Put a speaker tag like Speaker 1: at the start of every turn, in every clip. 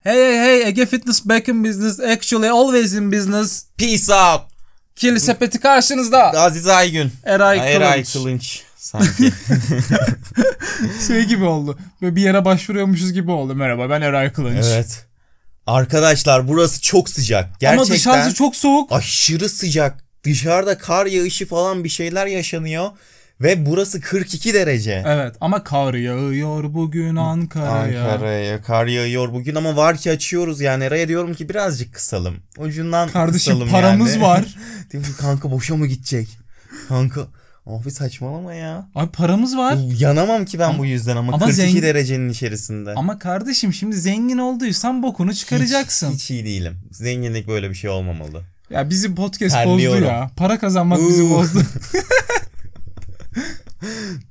Speaker 1: Hey hey hey Ege Fitness back in business. Actually always in business.
Speaker 2: Peace out.
Speaker 1: Kirli sepeti karşınızda.
Speaker 2: Aziz Aygün.
Speaker 1: Eray Kılıç.
Speaker 2: Eray Kılınç. Sanki.
Speaker 1: Şey gibi oldu. Böyle bir yere başvuruyormuşuz gibi oldu. Merhaba ben Eray Kılıç.
Speaker 2: evet. Arkadaşlar burası çok sıcak. Gerçekten
Speaker 1: Ama dışarısı çok soğuk.
Speaker 2: aşırı sıcak. Dışarıda kar yağışı falan bir şeyler yaşanıyor. Ve burası 42 derece.
Speaker 1: Evet ama kar yağıyor bugün Ankara'ya.
Speaker 2: Ankara'ya kar yağıyor bugün ama var ki açıyoruz yani. Eray'a diyorum ki birazcık kısalım. Ucundan
Speaker 1: Kardeşim
Speaker 2: kısalım
Speaker 1: paramız
Speaker 2: yani.
Speaker 1: var.
Speaker 2: Diyorum ki, kanka boşa mı gidecek? Kanka abi saçmalama ya.
Speaker 1: Abi paramız var.
Speaker 2: Yanamam ki ben bu yüzden ama,
Speaker 1: ama
Speaker 2: 42
Speaker 1: zengin-
Speaker 2: derecenin içerisinde.
Speaker 1: Ama kardeşim şimdi zengin olduysan bokunu çıkaracaksın.
Speaker 2: Hiç, hiç iyi değilim. Zenginlik böyle bir şey olmamalı.
Speaker 1: Ya bizim podcast
Speaker 2: Terliyorum.
Speaker 1: bozdu ya. Para kazanmak bizi
Speaker 2: Uuu.
Speaker 1: bozdu.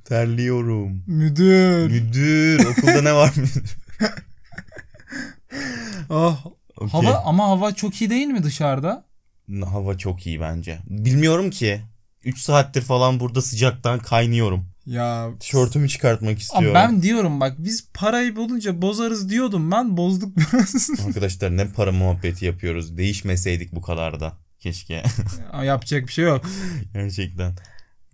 Speaker 2: Terliyorum.
Speaker 1: Müdür.
Speaker 2: Müdür okulda ne var müdür?
Speaker 1: Ah.
Speaker 2: Okey.
Speaker 1: Hava ama hava çok iyi değil mi dışarıda?
Speaker 2: Hava çok iyi bence. Bilmiyorum ki. 3 saattir falan burada sıcaktan kaynıyorum.
Speaker 1: Ya
Speaker 2: Tişörtümü çıkartmak
Speaker 1: Abi
Speaker 2: istiyorum.
Speaker 1: ben diyorum bak biz parayı bulunca bozarız diyordum ben bozduk biraz.
Speaker 2: Arkadaşlar ne para muhabbeti yapıyoruz. Değişmeseydik bu kadar da. Keşke.
Speaker 1: Ya Yapacak bir şey yok.
Speaker 2: Gerçekten.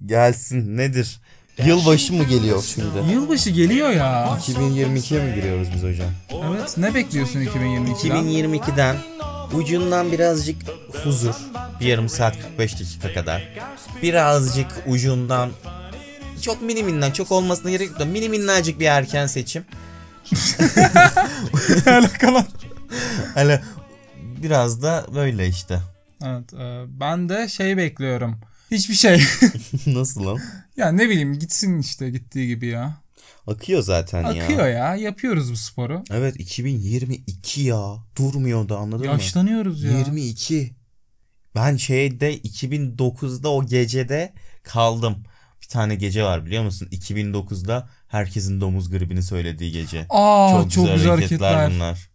Speaker 2: Gelsin nedir?
Speaker 1: şey
Speaker 2: Yılbaşı mı geliyor şimdi?
Speaker 1: Yılbaşı geliyor ya.
Speaker 2: 2022'ye mi giriyoruz biz hocam?
Speaker 1: Evet ne bekliyorsun 2022'den?
Speaker 2: 2022'den ucundan birazcık huzur. Bir yarım saat 45 dakika kadar. Birazcık ucundan çok mini minnak çok olmasına gerek yok da mini minnacık bir erken seçim.
Speaker 1: Alakalı.
Speaker 2: Hani biraz da böyle işte.
Speaker 1: Evet e, ben de şey bekliyorum. Hiçbir şey.
Speaker 2: Nasıl lan?
Speaker 1: ya ne bileyim gitsin işte gittiği gibi ya.
Speaker 2: Akıyor zaten
Speaker 1: Akıyor ya yapıyoruz bu sporu.
Speaker 2: Evet 2022 ya. Durmuyor da anladın mı?
Speaker 1: Yaşlanıyoruz ya.
Speaker 2: 22. Ben şeyde 2009'da o gecede kaldım. Bir tane gece var biliyor musun? 2009'da herkesin domuz gribini söylediği gece.
Speaker 1: Aa çok, güzel, hareketler.
Speaker 2: bunlar.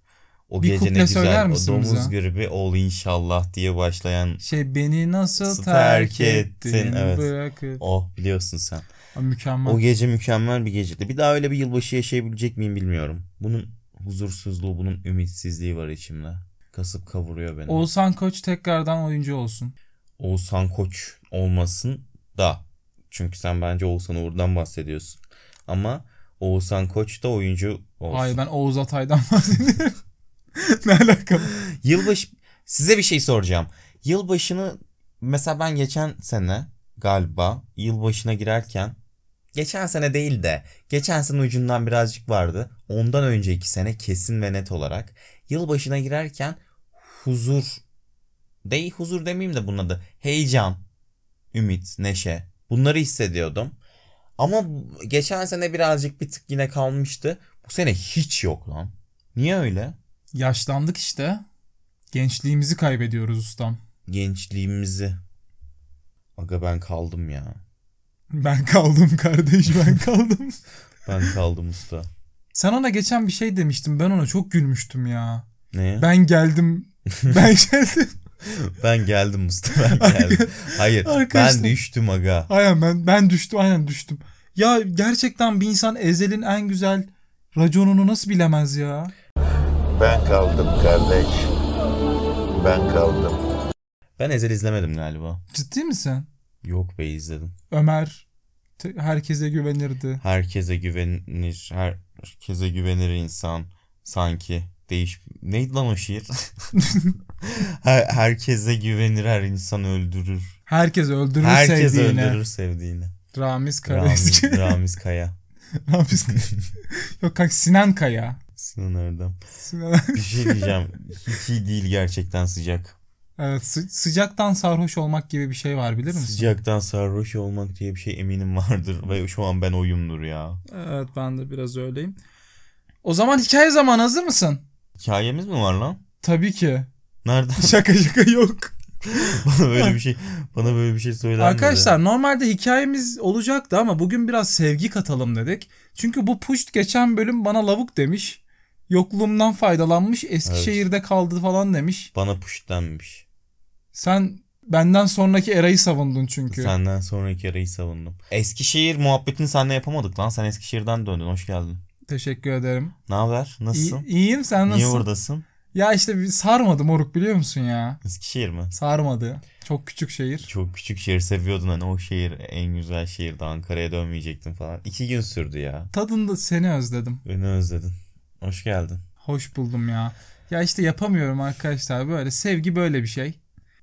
Speaker 2: O
Speaker 1: Bir
Speaker 2: gece
Speaker 1: kuple
Speaker 2: ne
Speaker 1: söyler
Speaker 2: güzel. O
Speaker 1: misin
Speaker 2: domuz
Speaker 1: bize?
Speaker 2: gribi ol inşallah diye başlayan
Speaker 1: Şey beni nasıl
Speaker 2: Nasıl
Speaker 1: terk
Speaker 2: terk
Speaker 1: ettin
Speaker 2: ettin, evet.
Speaker 1: bırakıp.
Speaker 2: o biliyorsun sen.
Speaker 1: Aa, Mükemmel.
Speaker 2: O gece mükemmel bir geceydi. Bir daha öyle bir yılbaşı yaşayabilecek miyim bilmiyorum. Bunun huzursuzluğu, bunun ümitsizliği var içimde. Kasıp kavuruyor beni.
Speaker 1: Oğuzhan Koç tekrardan oyuncu olsun.
Speaker 2: Oğuzhan Koç olmasın da. Çünkü sen bence Oğuzhan Uğur'dan bahsediyorsun. Ama Oğuzhan Koç da oyuncu olsun.
Speaker 1: Hayır ben Oğuz Atay'dan bahsediyorum. ne alakalı?
Speaker 2: Yılbaşı size bir şey soracağım. Yılbaşını mesela ben geçen sene galiba yılbaşına girerken geçen sene değil de geçen sene ucundan birazcık vardı. Ondan önceki sene kesin ve net olarak yılbaşına girerken huzur değil huzur demeyeyim de bunun adı heyecan, ümit, neşe bunları hissediyordum. Ama geçen sene birazcık bir tık yine kalmıştı. Bu sene hiç yok lan. Niye öyle?
Speaker 1: Yaşlandık işte. Gençliğimizi kaybediyoruz ustam.
Speaker 2: gençliğimizi. Aga ben kaldım ya.
Speaker 1: Ben kaldım kardeş ben kaldım.
Speaker 2: Ben kaldım usta.
Speaker 1: Sen ona geçen bir şey demiştin. Ben ona çok gülmüştüm ya.
Speaker 2: Ne? Ben,
Speaker 1: Ben geldim. Ben geldim.
Speaker 2: geldim usta ben geldim. Hayır
Speaker 1: Arkadaşlar.
Speaker 2: ben düştüm aga.
Speaker 1: Aynen ben, ben düştüm. Aynen düştüm. Ya gerçekten bir insan Ezel'in en güzel raconunu nasıl bilemez ya?
Speaker 3: Ben kaldım kardeş. Ben kaldım.
Speaker 2: Ben Ezel izlemedim galiba.
Speaker 1: Ciddi misin?
Speaker 2: Yok be izledim.
Speaker 1: Ömer te- herkese güvenirdi.
Speaker 2: Herkese güvenir. Herkese güvenir insan. Sanki. Değiş... Neydi lan o şiir? Her- herkese güvenir her insan öldürür.
Speaker 1: Herkes öldürür
Speaker 2: Herkes
Speaker 1: sevdiğine.
Speaker 2: öldürür sevdiğini.
Speaker 1: Ramiz
Speaker 2: Ramiz,
Speaker 1: Karaeski.
Speaker 2: Ramiz Kaya.
Speaker 1: Ramiz Yok kanka Sinan Kaya.
Speaker 2: Sinan Erdem.
Speaker 1: Sinan...
Speaker 2: Bir şey diyeceğim. Hiç iyi değil gerçekten sıcak.
Speaker 1: evet, sı- sıcaktan sarhoş olmak gibi bir şey var bilir misin?
Speaker 2: Sıcaktan sarhoş olmak diye bir şey eminim vardır. Ve şu an ben oyumdur ya.
Speaker 1: Evet ben de biraz öyleyim. O zaman hikaye zamanı hazır mısın?
Speaker 2: Hikayemiz mi var lan?
Speaker 1: Tabii ki.
Speaker 2: Nereden
Speaker 1: Şaka şaka yok.
Speaker 2: bana böyle bir şey bana böyle bir şey söylenmedi.
Speaker 1: Arkadaşlar normalde hikayemiz olacaktı ama bugün biraz sevgi katalım dedik. Çünkü bu puşt geçen bölüm bana lavuk demiş. Yokluğumdan faydalanmış. Eskişehir'de kaldı falan demiş.
Speaker 2: bana push denmiş.
Speaker 1: Sen benden sonraki erayı savundun çünkü.
Speaker 2: Senden sonraki yarayı savundum. Eskişehir muhabbetini seninle yapamadık lan. Sen Eskişehir'den döndün. Hoş geldin.
Speaker 1: Teşekkür ederim.
Speaker 2: Ne haber? Nasılsın?
Speaker 1: İyi, iyiyim sen
Speaker 2: Niye
Speaker 1: nasılsın?
Speaker 2: buradasın?
Speaker 1: Ya işte bir sarmadı moruk biliyor musun ya?
Speaker 2: Eskişehir mi?
Speaker 1: Sarmadı. Çok küçük şehir.
Speaker 2: Çok küçük şehir seviyordun hani o şehir en güzel şehirdi Ankara'ya dönmeyecektin falan. İki gün sürdü ya.
Speaker 1: Tadında seni özledim.
Speaker 2: Beni özledin. Hoş geldin.
Speaker 1: Hoş buldum ya. Ya işte yapamıyorum arkadaşlar böyle. Sevgi böyle bir şey.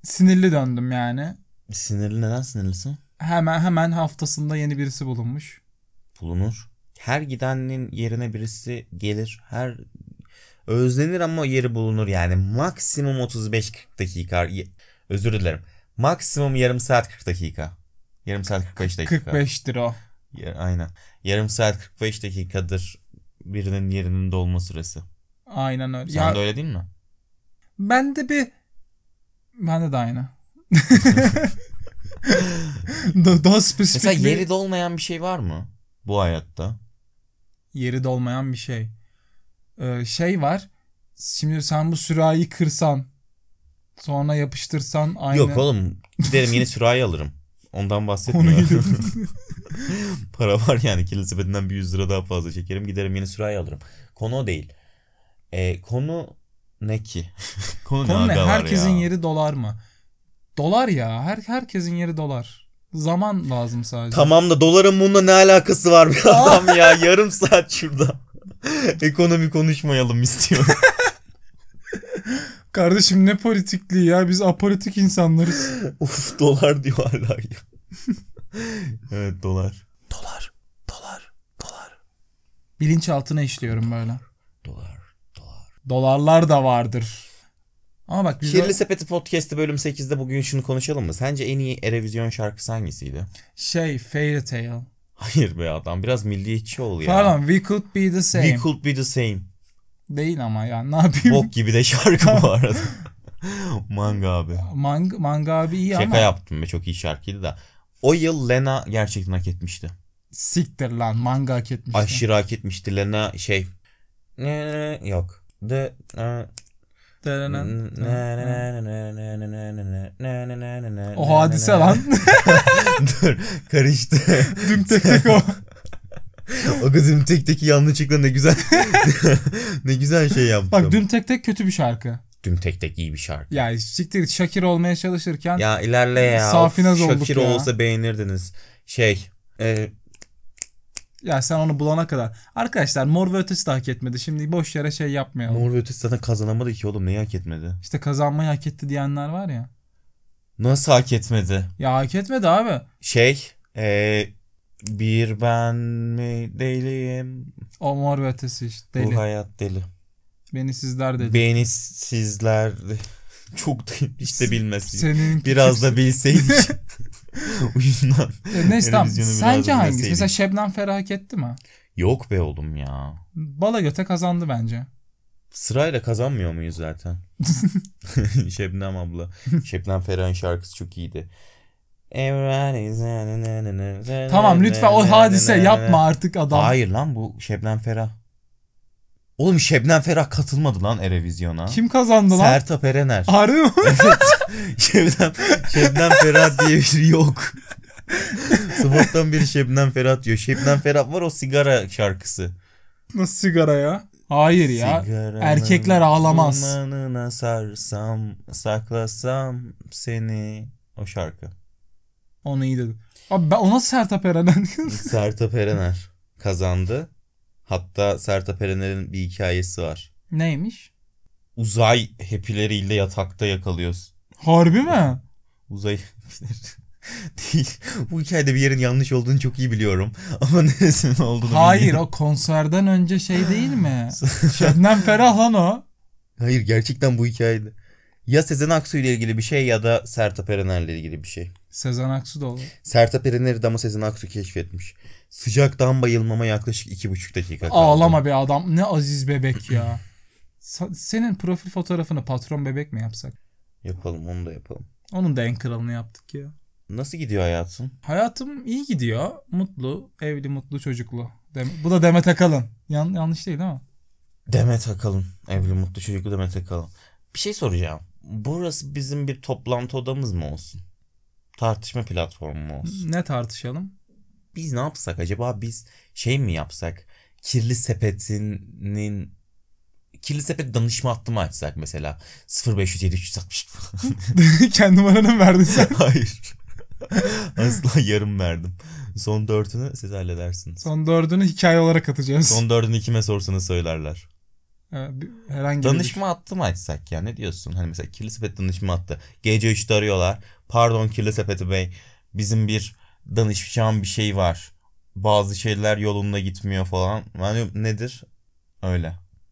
Speaker 1: Sinirli döndüm yani.
Speaker 2: Sinirli neden sinirlisin?
Speaker 1: Hemen hemen haftasında yeni birisi bulunmuş.
Speaker 2: Bulunur. Her gidenin yerine birisi gelir. Her özlenir ama yeri bulunur yani. Maksimum 35-40 dakika. y- Özür dilerim. Maksimum yarım saat 40 dakika. Yarım saat 45 dakika.
Speaker 1: 45'tir o.
Speaker 2: Ya- aynen. Yarım saat 45 dakikadır birinin yerinin dolma süresi.
Speaker 1: Aynen öyle.
Speaker 2: Sen
Speaker 1: ya
Speaker 2: de öyle değil mi?
Speaker 1: ben de bir bende de aynı. Da- daha spesifik
Speaker 2: Mesela
Speaker 1: bir-
Speaker 2: yeri dolmayan bir şey var mı bu hayatta?
Speaker 1: yeri dolmayan bir şey. Ee, şey var. Şimdi sen bu sürahi kırsan sonra yapıştırsan aynı
Speaker 2: Yok oğlum giderim yeni sürahi alırım. Ondan
Speaker 1: konuyu.
Speaker 2: bahsetmiyorum. Para var yani kirli sepetinden bir 100 lira daha fazla çekerim giderim yeni sürahi alırım. Konu o değil. Ee, konu ne ki? konu,
Speaker 1: Konu ne?
Speaker 2: aga var
Speaker 1: Herkesin
Speaker 2: ya?
Speaker 1: yeri dolar mı? Dolar ya. Her herkesin yeri dolar. Zaman lazım sadece.
Speaker 2: Tamam da doların bununla ne alakası var bir adam ya yarım saat şurada. Ekonomi konuşmayalım istiyorum.
Speaker 1: Kardeşim ne politikliği ya. Biz apolitik insanlarız.
Speaker 2: Uf dolar diyor hala ya. evet dolar. Dolar. Dolar. Dolar.
Speaker 1: Bilinçaltına işliyorum böyle.
Speaker 2: Dolar. Dolar.
Speaker 1: Dolarlar da vardır. Ama bak biz
Speaker 2: Kirli Sepeti Podcast'ı bölüm 8'de bugün şunu konuşalım mı? Sence en iyi Erevizyon şarkısı hangisiydi?
Speaker 1: şey fairy tale.
Speaker 2: Hayır be adam biraz milliyetçi ol ya.
Speaker 1: Pardon we could be the same.
Speaker 2: We could be the same.
Speaker 1: Değil ama ya ne yapayım?
Speaker 2: Bok gibi de şarkı bu arada. Manga abi.
Speaker 1: Manga, manga abi iyi
Speaker 2: Şaka
Speaker 1: ama
Speaker 2: yaptım be çok iyi şarkıydı da. O yıl Lena gerçekten hak etmişti.
Speaker 1: siktir lan manga hak etmişti.
Speaker 2: Aşırı hak etmişti Lena şey. Ne ne- yok. The
Speaker 1: O hadise lan.
Speaker 2: Dur karıştı.
Speaker 1: Düm tek tek o.
Speaker 2: O kızın tek tek yanlışlıkla ne güzel ne güzel şey yaptım.
Speaker 1: Bak düm tek tek kötü bir şarkı.
Speaker 2: Dün tek tek iyi bir şarkı.
Speaker 1: Ya siktir Şakir olmaya çalışırken
Speaker 2: Ya ilerle ya.
Speaker 1: Safinaz
Speaker 2: Of,
Speaker 1: olduk
Speaker 2: Shakira
Speaker 1: ya.
Speaker 2: olsa beğenirdiniz. Şey. e,
Speaker 1: ya sen onu bulana kadar. Arkadaşlar Mor ve Ötesi de hak etmedi. Şimdi boş yere şey yapmayalım.
Speaker 2: Mor ve Ötesi zaten kazanamadı ki oğlum. Neyi hak etmedi?
Speaker 1: İşte kazanmayı hak etti diyenler var ya.
Speaker 2: Nasıl hak etmedi?
Speaker 1: Ya hak etmedi abi.
Speaker 2: Şey. e, bir ben mi deliyim?
Speaker 1: O Mor ve Ötesi işte. Deli.
Speaker 2: Bu hayat deli.
Speaker 1: Beni sizler dedi.
Speaker 2: Beni sizler çok da işte bilmesin.
Speaker 1: Senin
Speaker 2: Biraz da bilseydik. Ucundan.
Speaker 1: E, neyse tamam.
Speaker 2: Eurovision'u biraz
Speaker 1: Sence hangisi?
Speaker 2: bilseydik.
Speaker 1: Mesela Şebnem Ferah hak etti mi?
Speaker 2: Yok be oğlum ya.
Speaker 1: Bala göte kazandı bence.
Speaker 2: Sırayla kazanmıyor muyuz zaten? Şebnem abla. Şebnem Ferah'ın şarkısı çok iyiydi.
Speaker 1: Tamam lütfen o hadise yapma artık adam.
Speaker 2: Hayır lan bu Şebnem Ferah. Oğlum Şebnem Ferah katılmadı lan Erevizyon'a.
Speaker 1: Kim kazandı lan? Ah.
Speaker 2: Sertab Erener.
Speaker 1: Harbi mi?
Speaker 2: Şebnem, Şebnem Ferah diye biri yok. Sabahtan beri Şebnem Ferah diyor. Şebnem Ferah var o sigara şarkısı.
Speaker 1: Nasıl sigara ya? Hayır ya.
Speaker 2: Sigaranın
Speaker 1: erkekler ağlamaz.
Speaker 2: Dumanına sarsam, saklasam seni. O şarkı.
Speaker 1: Onu iyi dedim. Abi ben ona Sertap Erener.
Speaker 2: Sertab Erener kazandı. Hatta Sertab Erener'in bir hikayesi var.
Speaker 1: Neymiş?
Speaker 2: Uzay hepileriyle yatakta yakalıyoruz.
Speaker 1: Harbi mi?
Speaker 2: Uzay hepileri değil. Bu hikayede bir yerin yanlış olduğunu çok iyi biliyorum. Ama neresinin olduğunu
Speaker 1: Hayır
Speaker 2: bilmiyorum.
Speaker 1: o konserden önce şey değil mi? Şebnem Ferah lan o.
Speaker 2: Hayır gerçekten bu hikayede. Ya Sezen Aksu ile ilgili bir şey ya da Sertab Erener ile ilgili bir şey.
Speaker 1: Sezen Aksu da olur.
Speaker 2: Sertab Erener'i Dama Sezen Aksu keşfetmiş. Sıcaktan bayılmama yaklaşık iki buçuk dakika kaldı.
Speaker 1: Ağlama be adam. Ne aziz bebek ya. Sa- Senin profil fotoğrafını patron bebek mi yapsak?
Speaker 2: Yapalım onu da yapalım.
Speaker 1: Onun da en kralını yaptık ya.
Speaker 2: Nasıl gidiyor hayatın?
Speaker 1: Hayatım iyi gidiyor. Mutlu, evli, mutlu, çocuklu. Dem- Bu da Demet Akalın. Yan- yanlış değil değil mi?
Speaker 2: Demet Akalın. Evli mutlu çocuklu Demet Akalın. Bir şey soracağım. Burası bizim bir toplantı odamız mı olsun? Tartışma
Speaker 1: Hmm.
Speaker 2: platformu mu olsun?
Speaker 1: Ne tartışalım?
Speaker 2: Biz ne yapsak acaba? Biz şey mi yapsak? kirli sepetinin kirli sepet danışma hattımı açsak mesela 0507 360
Speaker 1: Kendi numaranı mı verdin sen?
Speaker 2: Hayır. Asla yarım verdim. Son dörtünü siz halledersiniz.
Speaker 1: Son dördünü hikaye olarak atacağız.
Speaker 2: Son dördünü kime sorsanız söylerler.
Speaker 1: Evet, bir- herhangi
Speaker 2: Danışma hattı mı açsak ya ne diyorsun? Hani mesela kirli sepet danışma hattı. Gece 3'te arıyorlar. Pardon kirli sepeti bey. Bizim bir danışacağım bir şey var. Bazı şeyler yolunda gitmiyor falan. Yani nedir? Öyle.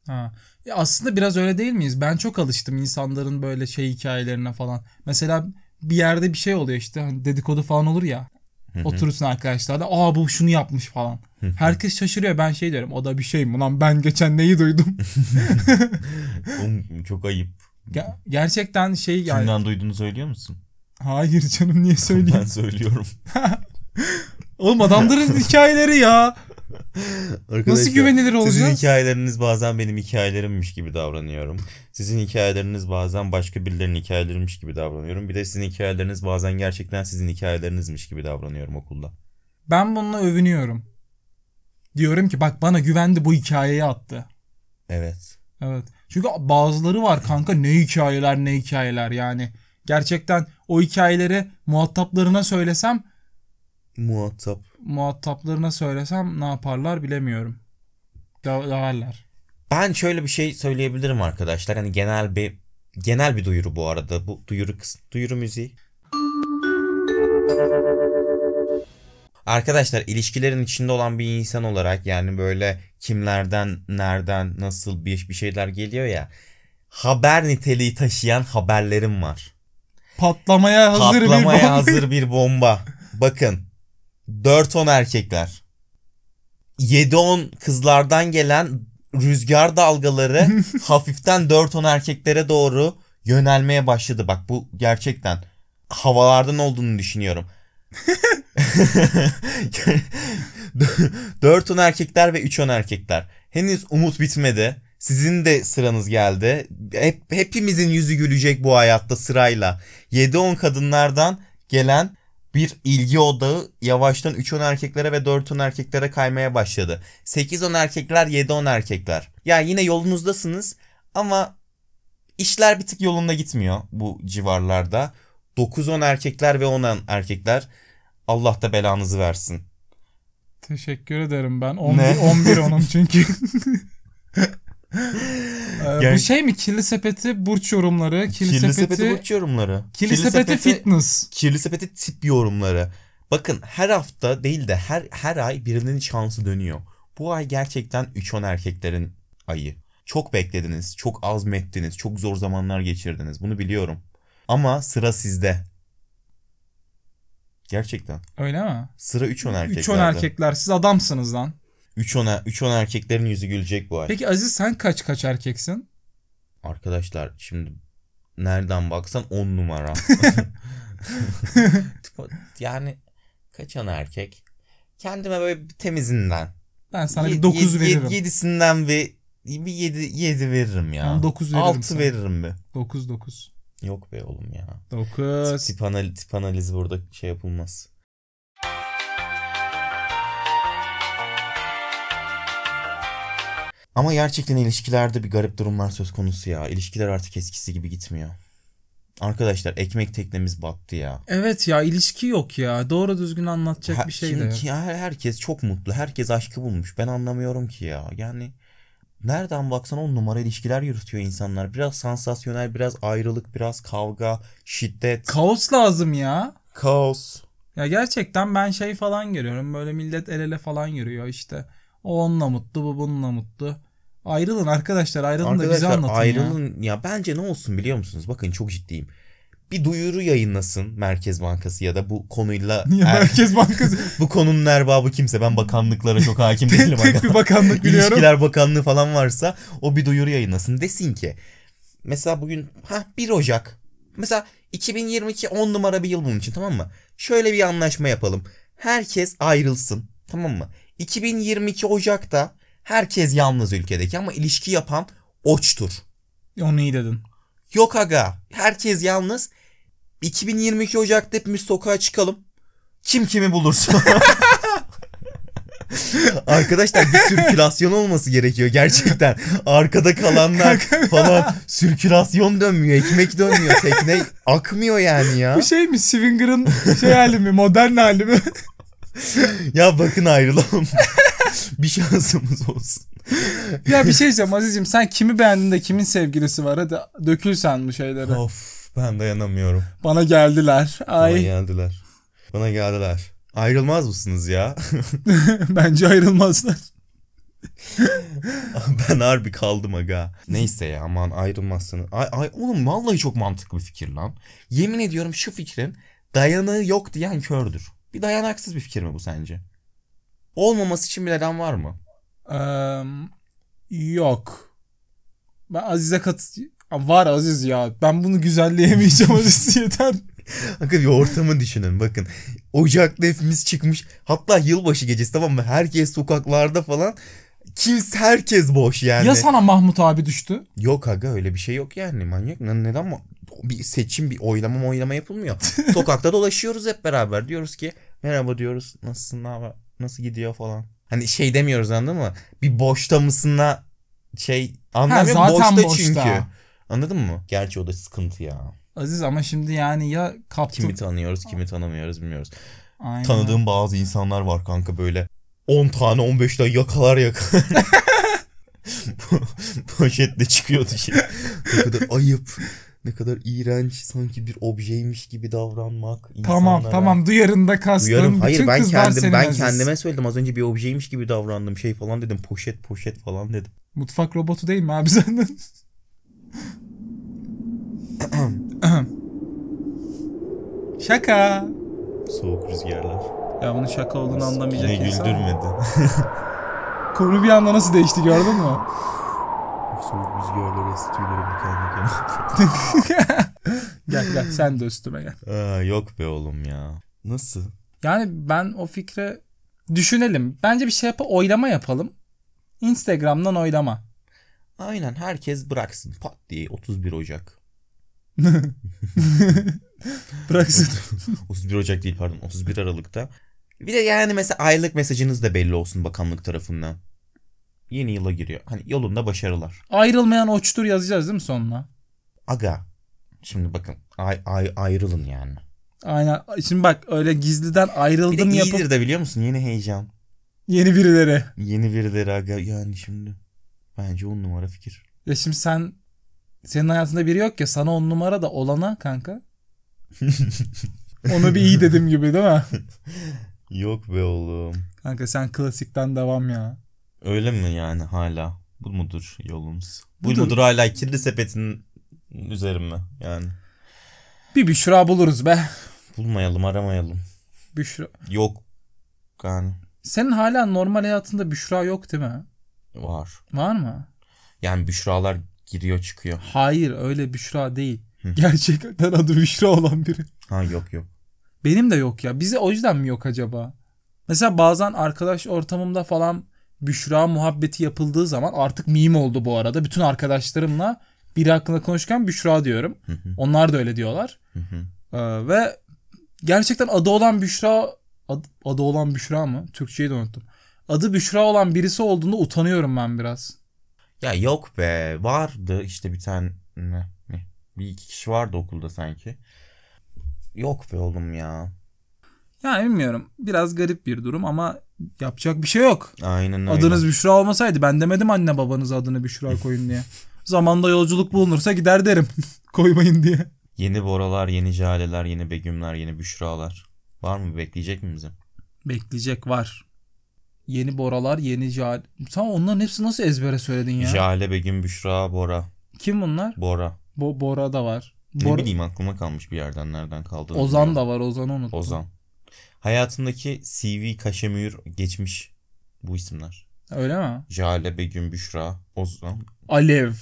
Speaker 1: bir... Ha. Ya aslında biraz öyle değil miyiz? Ben çok alıştım insanların böyle şey hikayelerine falan. Mesela bir yerde bir şey oluyor işte hani dedikodu falan olur ya.
Speaker 2: Hı hı.
Speaker 1: Oturursun arkadaşlar da aa bu şunu yapmış falan. Herkes şaşırıyor ben şey diyorum o da bir şey mi lan ben geçen neyi duydum.
Speaker 2: Oğlum, çok ayıp.
Speaker 1: Ger- gerçekten şey yani
Speaker 2: Kimden duyduğunu söylüyor musun?
Speaker 1: hayır canım niye
Speaker 2: Ben
Speaker 1: söyleyeyim.
Speaker 2: söylüyorum.
Speaker 1: Oğlum adamların hikayeleri ya. Nasıl güvenilir
Speaker 2: Sizin
Speaker 1: olacak?
Speaker 2: hikayeleriniz bazen benim hikayelerimmiş gibi davranıyorum. Sizin hikayeleriniz bazen başka birilerinin hikayelerinmiş gibi davranıyorum. Bir de sizin hikayeleriniz bazen gerçekten sizin hikayelerinizmiş gibi davranıyorum okulda.
Speaker 1: Ben bununla övünüyorum. Diyorum ki bak bana güvendi bu hikayeyi attı.
Speaker 2: Evet.
Speaker 1: Evet. Çünkü bazıları var kanka ne hikayeler ne hikayeler yani. Gerçekten o hikayeleri muhataplarına söylesem
Speaker 2: Muhatap.
Speaker 1: muhataplarına söylesem ne yaparlar bilemiyorum. Da- Döverler.
Speaker 2: Ben şöyle bir şey söyleyebilirim arkadaşlar. Hani genel bir genel bir duyuru bu arada. Bu duyuru kıs- duyuru müziği. Arkadaşlar ilişkilerin içinde olan bir insan olarak yani böyle kimlerden, nereden, nasıl bir, bir şeyler geliyor ya. Haber niteliği taşıyan haberlerim var.
Speaker 1: Patlamaya hazır bir
Speaker 2: Patlamaya
Speaker 1: bomba.
Speaker 2: hazır bir bomba. Bakın. 4-10 erkekler. 7-10 kızlardan gelen rüzgar dalgaları hafiften 4-10 erkeklere doğru yönelmeye başladı. Bak bu gerçekten havalardan olduğunu düşünüyorum. 4-10 erkekler ve 3-10 erkekler. Henüz umut bitmedi. Sizin de sıranız geldi. Hep, hepimizin yüzü gülecek bu hayatta sırayla. 7-10 kadınlardan gelen bir ilgi odağı yavaştan 3-10 erkeklere ve 4-10 erkeklere kaymaya başladı. 8-10 erkekler, 7-10 erkekler. Ya yine yolunuzdasınız ama işler bir tık yolunda gitmiyor bu civarlarda. 9-10 erkekler ve 10 erkekler Allah da belanızı versin.
Speaker 1: Teşekkür ederim ben.
Speaker 2: Ne?
Speaker 1: 11, 11 onun çünkü. Ee,
Speaker 2: Ger-
Speaker 1: bu şey mi? Kirli sepeti burç yorumları. Kirli,
Speaker 2: Kirli
Speaker 1: sepeti,
Speaker 2: sepeti burç yorumları.
Speaker 1: kirli sepeti fitness.
Speaker 2: Kirli sepeti tip yorumları. Bakın her hafta değil de her her ay birinin şansı dönüyor. Bu ay gerçekten 3-10 erkeklerin ayı. Çok beklediniz, çok azmettiniz, çok zor zamanlar geçirdiniz. Bunu biliyorum. Ama sıra sizde. Gerçekten.
Speaker 1: Öyle mi?
Speaker 2: Sıra 3-10 erkeklerde.
Speaker 1: 3-10 erkekler. Siz adamsınız lan.
Speaker 2: 3-10 3-10 erkeklerin yüzü gülecek bu ay.
Speaker 1: Peki Aziz sen kaç kaç erkeksin?
Speaker 2: Arkadaşlar şimdi nereden baksan 10 numara. yani kaçan erkek? Kendime böyle bir temizinden.
Speaker 1: Ben sana bir 9 veririm.
Speaker 2: 7'sinden bir bir 7 7 veririm ya.
Speaker 1: Ben 9 veririm
Speaker 2: 6
Speaker 1: sana.
Speaker 2: veririm bir.
Speaker 1: 9 9.
Speaker 2: Yok be oğlum ya.
Speaker 1: 9.
Speaker 2: Tip, analiz, tip analizi burada şey yapılmaz. Ama gerçekten ilişkilerde bir garip durumlar söz konusu ya. İlişkiler artık eskisi gibi gitmiyor. Arkadaşlar ekmek teknemiz battı ya.
Speaker 1: Evet ya ilişki yok ya. Doğru düzgün anlatacak bir şey de
Speaker 2: şimdi
Speaker 1: yok.
Speaker 2: ki her- herkes çok mutlu. Herkes aşkı bulmuş. Ben anlamıyorum ki ya. Yani nereden baksan on numara ilişkiler yürütüyor insanlar. Biraz sansasyonel, biraz ayrılık, biraz kavga, şiddet,
Speaker 1: Kaos lazım ya.
Speaker 2: kaos.
Speaker 1: Ya gerçekten ben şey falan görüyorum. Böyle millet el ele falan yürüyor işte. O onunla mutlu, bu bununla mutlu. Ayrılın arkadaşlar, ayrılın da bize
Speaker 2: Arkadaşlar
Speaker 1: anlatın ya.
Speaker 2: ayrılın ya. bence ne olsun biliyor musunuz? Bakın çok ciddiyim. Bir duyuru yayınlasın Merkez Bankası ya da bu konuyla
Speaker 1: Niye
Speaker 2: Er-
Speaker 1: Merkez Bankası?
Speaker 2: bu konunun erbabı kimse ben bakanlıklara çok hakim değilim.
Speaker 1: tek, tek bir bakanlık biliyorum.
Speaker 2: İlişkiler Bakanlığı falan varsa o bir duyuru yayınlasın. Desin ki mesela bugün ha 1 Ocak. Mesela 2022 10 numara bir yıl bunun için tamam mı? Şöyle bir anlaşma yapalım. Herkes ayrılsın tamam mı? 2022 Ocak'ta herkes yalnız ülkedeki ama ilişki yapan oçtur.
Speaker 1: Onu iyi dedin.
Speaker 2: Yok aga herkes yalnız. 2022 Ocak'ta hepimiz sokağa çıkalım. Kim kimi bulursa. Arkadaşlar bir sirkülasyon olması gerekiyor gerçekten. Arkada kalanlar falan sirkülasyon dönmüyor, ekmek dönmüyor, tekne akmıyor yani ya.
Speaker 1: Bu şey mi? Swinger'ın şey hali mi? Modern hali mi?
Speaker 2: Ya bakın ayrılalım. bir şansımız olsun.
Speaker 1: ya bir şey diyeceğim Aziz'im sen kimi beğendin de kimin sevgilisi var? Hadi dökülsen bu şeylere.
Speaker 2: Of ben dayanamıyorum.
Speaker 1: Bana geldiler.
Speaker 2: Bana
Speaker 1: Ay
Speaker 2: geldiler. Bana geldiler. Ayrılmaz mısınız ya?
Speaker 1: bence ayrılmazlar.
Speaker 2: ben harbi kaldım aga. Neyse ya aman ayrılmazsınız. Ay, ay oğlum vallahi çok mantıklı bir fikir lan. Yemin ediyorum şu fikrin dayanağı yok diyen kördür. Bir dayanaksız bir fikir mi bu sence? Olmaması için bir neden var mı?
Speaker 1: Eee, yok. Ben Aziz'e kat... Var Aziz ya. Ben bunu güzelleyemeyeceğim Aziz yeter.
Speaker 2: Bakın bir ortamı düşünün bakın. Ocakta hepimiz çıkmış. Hatta yılbaşı gecesi tamam mı? Herkes sokaklarda falan. Kimse herkes boş yani.
Speaker 1: Ya sana Mahmut abi düştü?
Speaker 2: Yok aga öyle bir şey yok yani manyak. Ne- Neden ma- bir seçim bir oylama oylama yapılmıyor. Sokakta dolaşıyoruz hep beraber. Diyoruz ki merhaba diyoruz. Nasılsın ne haber? Nasıl gidiyor falan. Hani şey demiyoruz anladın mı? Bir boşta mısınla şey
Speaker 1: Ha,
Speaker 2: anlamıyor.
Speaker 1: zaten
Speaker 2: boşta,
Speaker 1: boşta.
Speaker 2: çünkü. Anladın mı? Gerçi o da sıkıntı ya.
Speaker 1: Aziz ama şimdi yani ya kaptı.
Speaker 2: Kimi tanıyoruz kimi tanımıyoruz bilmiyoruz.
Speaker 1: Aynen.
Speaker 2: Tanıdığım bazı insanlar var kanka böyle 10 tane 15 tane yakalar yakalar. Po- Poşetle çıkıyordu şey. Ne kadar ayıp. Ne kadar iğrenç sanki bir objeymiş gibi davranmak.
Speaker 1: Tamam
Speaker 2: insanlara.
Speaker 1: tamam duyarında kastım.
Speaker 2: Duyarım. Hayır
Speaker 1: Bütün
Speaker 2: ben
Speaker 1: kızlar
Speaker 2: kendim
Speaker 1: senin
Speaker 2: ben
Speaker 1: Aziz.
Speaker 2: kendime söyledim az önce bir objeymiş gibi davrandım şey falan dedim poşet poşet falan dedim.
Speaker 1: Mutfak robotu değil mi abi senden? şaka.
Speaker 2: Soğuk rüzgarlar.
Speaker 1: Ya bunun şaka olduğunu anlamayacak
Speaker 2: Yine
Speaker 1: insan.
Speaker 2: güldürmedi.
Speaker 1: Konu bir anda nasıl değişti gördün mü?
Speaker 2: Soğuk rüzgarlar esti tüylerimi kendi
Speaker 1: gel gel sen de üstüme gel.
Speaker 2: kendime. Aa, yok be oğlum ya. Nasıl?
Speaker 1: Yani ben o fikre düşünelim. Bence bir şey yap oylama yapalım. Instagram'dan oylama.
Speaker 2: Aynen herkes bıraksın pat diye 31 Ocak.
Speaker 1: Bıraksın.
Speaker 2: 31 Ocak değil pardon 31 Aralık'ta. Bir de yani mesela aylık mesajınız da belli olsun bakanlık tarafından. Yeni yıla giriyor. Hani yolunda başarılar.
Speaker 1: Ayrılmayan oçtur yazacağız değil mi sonuna?
Speaker 2: Aga. Şimdi bakın ay, ay ayrılın yani.
Speaker 1: Aynen. Şimdi bak öyle gizliden
Speaker 2: Bir de
Speaker 1: ayrıldım yapıp
Speaker 2: iyidir de biliyor musun yeni heyecan.
Speaker 1: yeni birileri.
Speaker 2: Yeni birileri aga yani şimdi. Bence on numara fikir.
Speaker 1: Ya şimdi sen senin hayatında biri yok ya sana on numara da olana kanka. Onu bir iyi dedim gibi değil mi?
Speaker 2: Yok be oğlum.
Speaker 1: Kanka sen klasikten devam ya.
Speaker 2: Öyle mi yani hala? Bu mudur yolumuz? Bu
Speaker 1: Budur.
Speaker 2: mudur hala kirli sepetin üzerime yani.
Speaker 1: Bir Büşra buluruz be.
Speaker 2: Bulmayalım aramayalım.
Speaker 1: Büşra.
Speaker 2: Yok yani
Speaker 1: Senin hala normal hayatında Büşra yok değil mi?
Speaker 2: var.
Speaker 1: Var mı?
Speaker 2: Yani Büşralar giriyor çıkıyor.
Speaker 1: Hayır öyle Büşra değil.
Speaker 2: Hı.
Speaker 1: Gerçekten adı Büşra olan biri.
Speaker 2: Ha yok yok.
Speaker 1: Benim de yok ya. Bize o yüzden mi yok acaba? Mesela bazen arkadaş ortamımda falan Büşra muhabbeti yapıldığı zaman artık meme oldu bu arada. Bütün arkadaşlarımla biri hakkında konuşurken Büşra diyorum.
Speaker 2: Hı hı,
Speaker 1: Onlar da öyle diyorlar.
Speaker 2: hı hı.
Speaker 1: Ee, ve gerçekten adı olan Büşra ad- adı olan Büşra mı? Türkçeyi de unuttum. Adı Büşra olan birisi olduğunda utanıyorum ben biraz.
Speaker 2: ya yok be vardı işte bir tane ne, ne, bir iki kişi vardı okulda sanki. Yok be oğlum ya.
Speaker 1: Yani bilmiyorum. Biraz garip bir durum ama yapacak bir şey yok.
Speaker 2: Aynen öyle.
Speaker 1: Adınız Büşra olmasaydı ben demedim anne babanız adını Büşra koyun diye. Zamanda yolculuk bulunursa gider derim. Koymayın diye.
Speaker 2: Yeni Boralar, yeni Caleler, yeni Begümler, yeni Büşralar. Var mı bekleyecek mi bizi?
Speaker 1: Bekleyecek var. Yeni Boralar, yeni Cahil. Sen onların hepsi nasıl ezbere söyledin ya?
Speaker 2: Jale, Begüm, Büşra, Bora.
Speaker 1: Kim bunlar?
Speaker 2: Bora.
Speaker 1: Bo Bora da var.
Speaker 2: Ne
Speaker 1: Bora-
Speaker 2: bileyim aklıma kalmış bir yerden nereden kaldı.
Speaker 1: Ozan da var. Ozan'ı unuttum.
Speaker 2: Ozan. Hayatındaki CV kaşemür geçmiş bu isimler.
Speaker 1: Öyle mi?
Speaker 2: Jale, Begüm, Büşra, Ozan.
Speaker 1: Alev.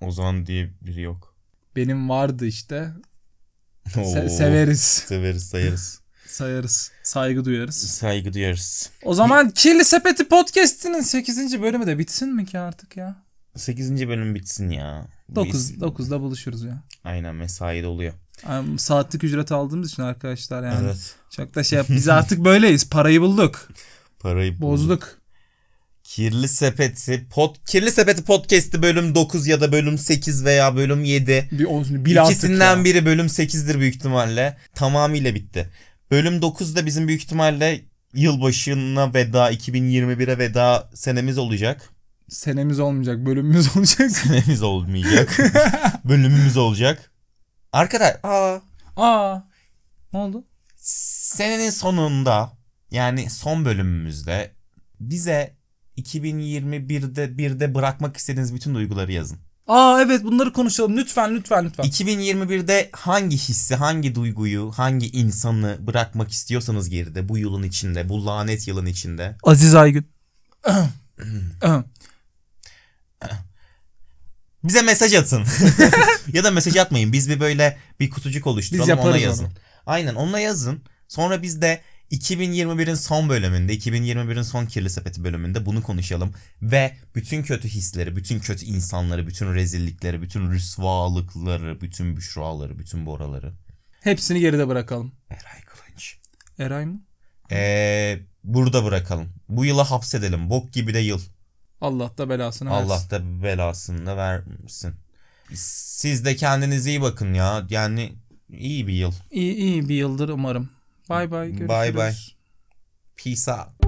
Speaker 2: Ozan diye biri yok.
Speaker 1: Benim vardı işte. Se-
Speaker 2: Oo,
Speaker 1: severiz.
Speaker 2: Severiz sayarız.
Speaker 1: Sayarız. Saygı duyarız.
Speaker 2: Saygı duyarız.
Speaker 1: O zaman Kirli Sepeti Podcast'inin 8. bölümü de bitsin mi ki artık ya?
Speaker 2: 8. bölüm bitsin ya. Bu
Speaker 1: 9
Speaker 2: is-
Speaker 1: 9'da buluşuruz ya.
Speaker 2: Aynen mesaide oluyor.
Speaker 1: Yani saatlik ücret aldığımız için arkadaşlar yani.
Speaker 2: Evet.
Speaker 1: Çok da şey yap. Biz artık böyleyiz. Parayı bulduk.
Speaker 2: Parayı bulduk.
Speaker 1: Bozduk.
Speaker 2: Kirli Sepeti pod Kirli Sepeti podcast'i bölüm 9 ya da bölüm 8 veya bölüm 7.
Speaker 1: Bir olsun. Bil artık
Speaker 2: İkisinden
Speaker 1: ya.
Speaker 2: biri bölüm 8'dir büyük ihtimalle. Tamamıyla bitti. Bölüm 9'da bizim büyük ihtimalle yılbaşına veda 2021'e veda senemiz olacak.
Speaker 1: Senemiz olmayacak. Bölümümüz olacak.
Speaker 2: Senemiz olmayacak. Bölümümüz olacak. Arkadaş aa,
Speaker 1: Aa. Ne oldu?
Speaker 2: senenin sonunda yani son bölümümüzde bize 2021'de birde bırakmak istediğiniz bütün duyguları yazın.
Speaker 1: Aa evet bunları konuşalım. Lütfen lütfen lütfen.
Speaker 2: 2021'de hangi hissi, hangi duyguyu, hangi insanı bırakmak istiyorsanız geride bu yılın içinde, bu lanet yılın içinde.
Speaker 1: Aziz Aygün.
Speaker 2: Bize mesaj atın. ya da mesaj atmayın. Biz bir böyle bir kutucuk oluşturalım
Speaker 1: Biz yaparız
Speaker 2: ona
Speaker 1: onu.
Speaker 2: yazın. Aynen onunla yazın. Sonra biz de 2021'in son bölümünde, 2021'in son kirli sepeti bölümünde bunu konuşalım. Ve bütün kötü hisleri, bütün kötü insanları, bütün rezillikleri, bütün rüsvalıkları, bütün büşraları, bütün boraları.
Speaker 1: Hepsini geride bırakalım.
Speaker 2: Eray Kılınç.
Speaker 1: Eray mı?
Speaker 2: Ee, burada bırakalım. Bu yıla hapsedelim. Bok gibi de yıl.
Speaker 1: Allah da belasını
Speaker 2: Allah
Speaker 1: versin.
Speaker 2: da belasını da versin. Siz de kendinize iyi bakın ya. Yani iyi bir yıl.
Speaker 1: İyi iyi bir yıldır umarım. Bay bay.
Speaker 2: Bye
Speaker 1: Görüşürüz.
Speaker 2: bye. Peace out.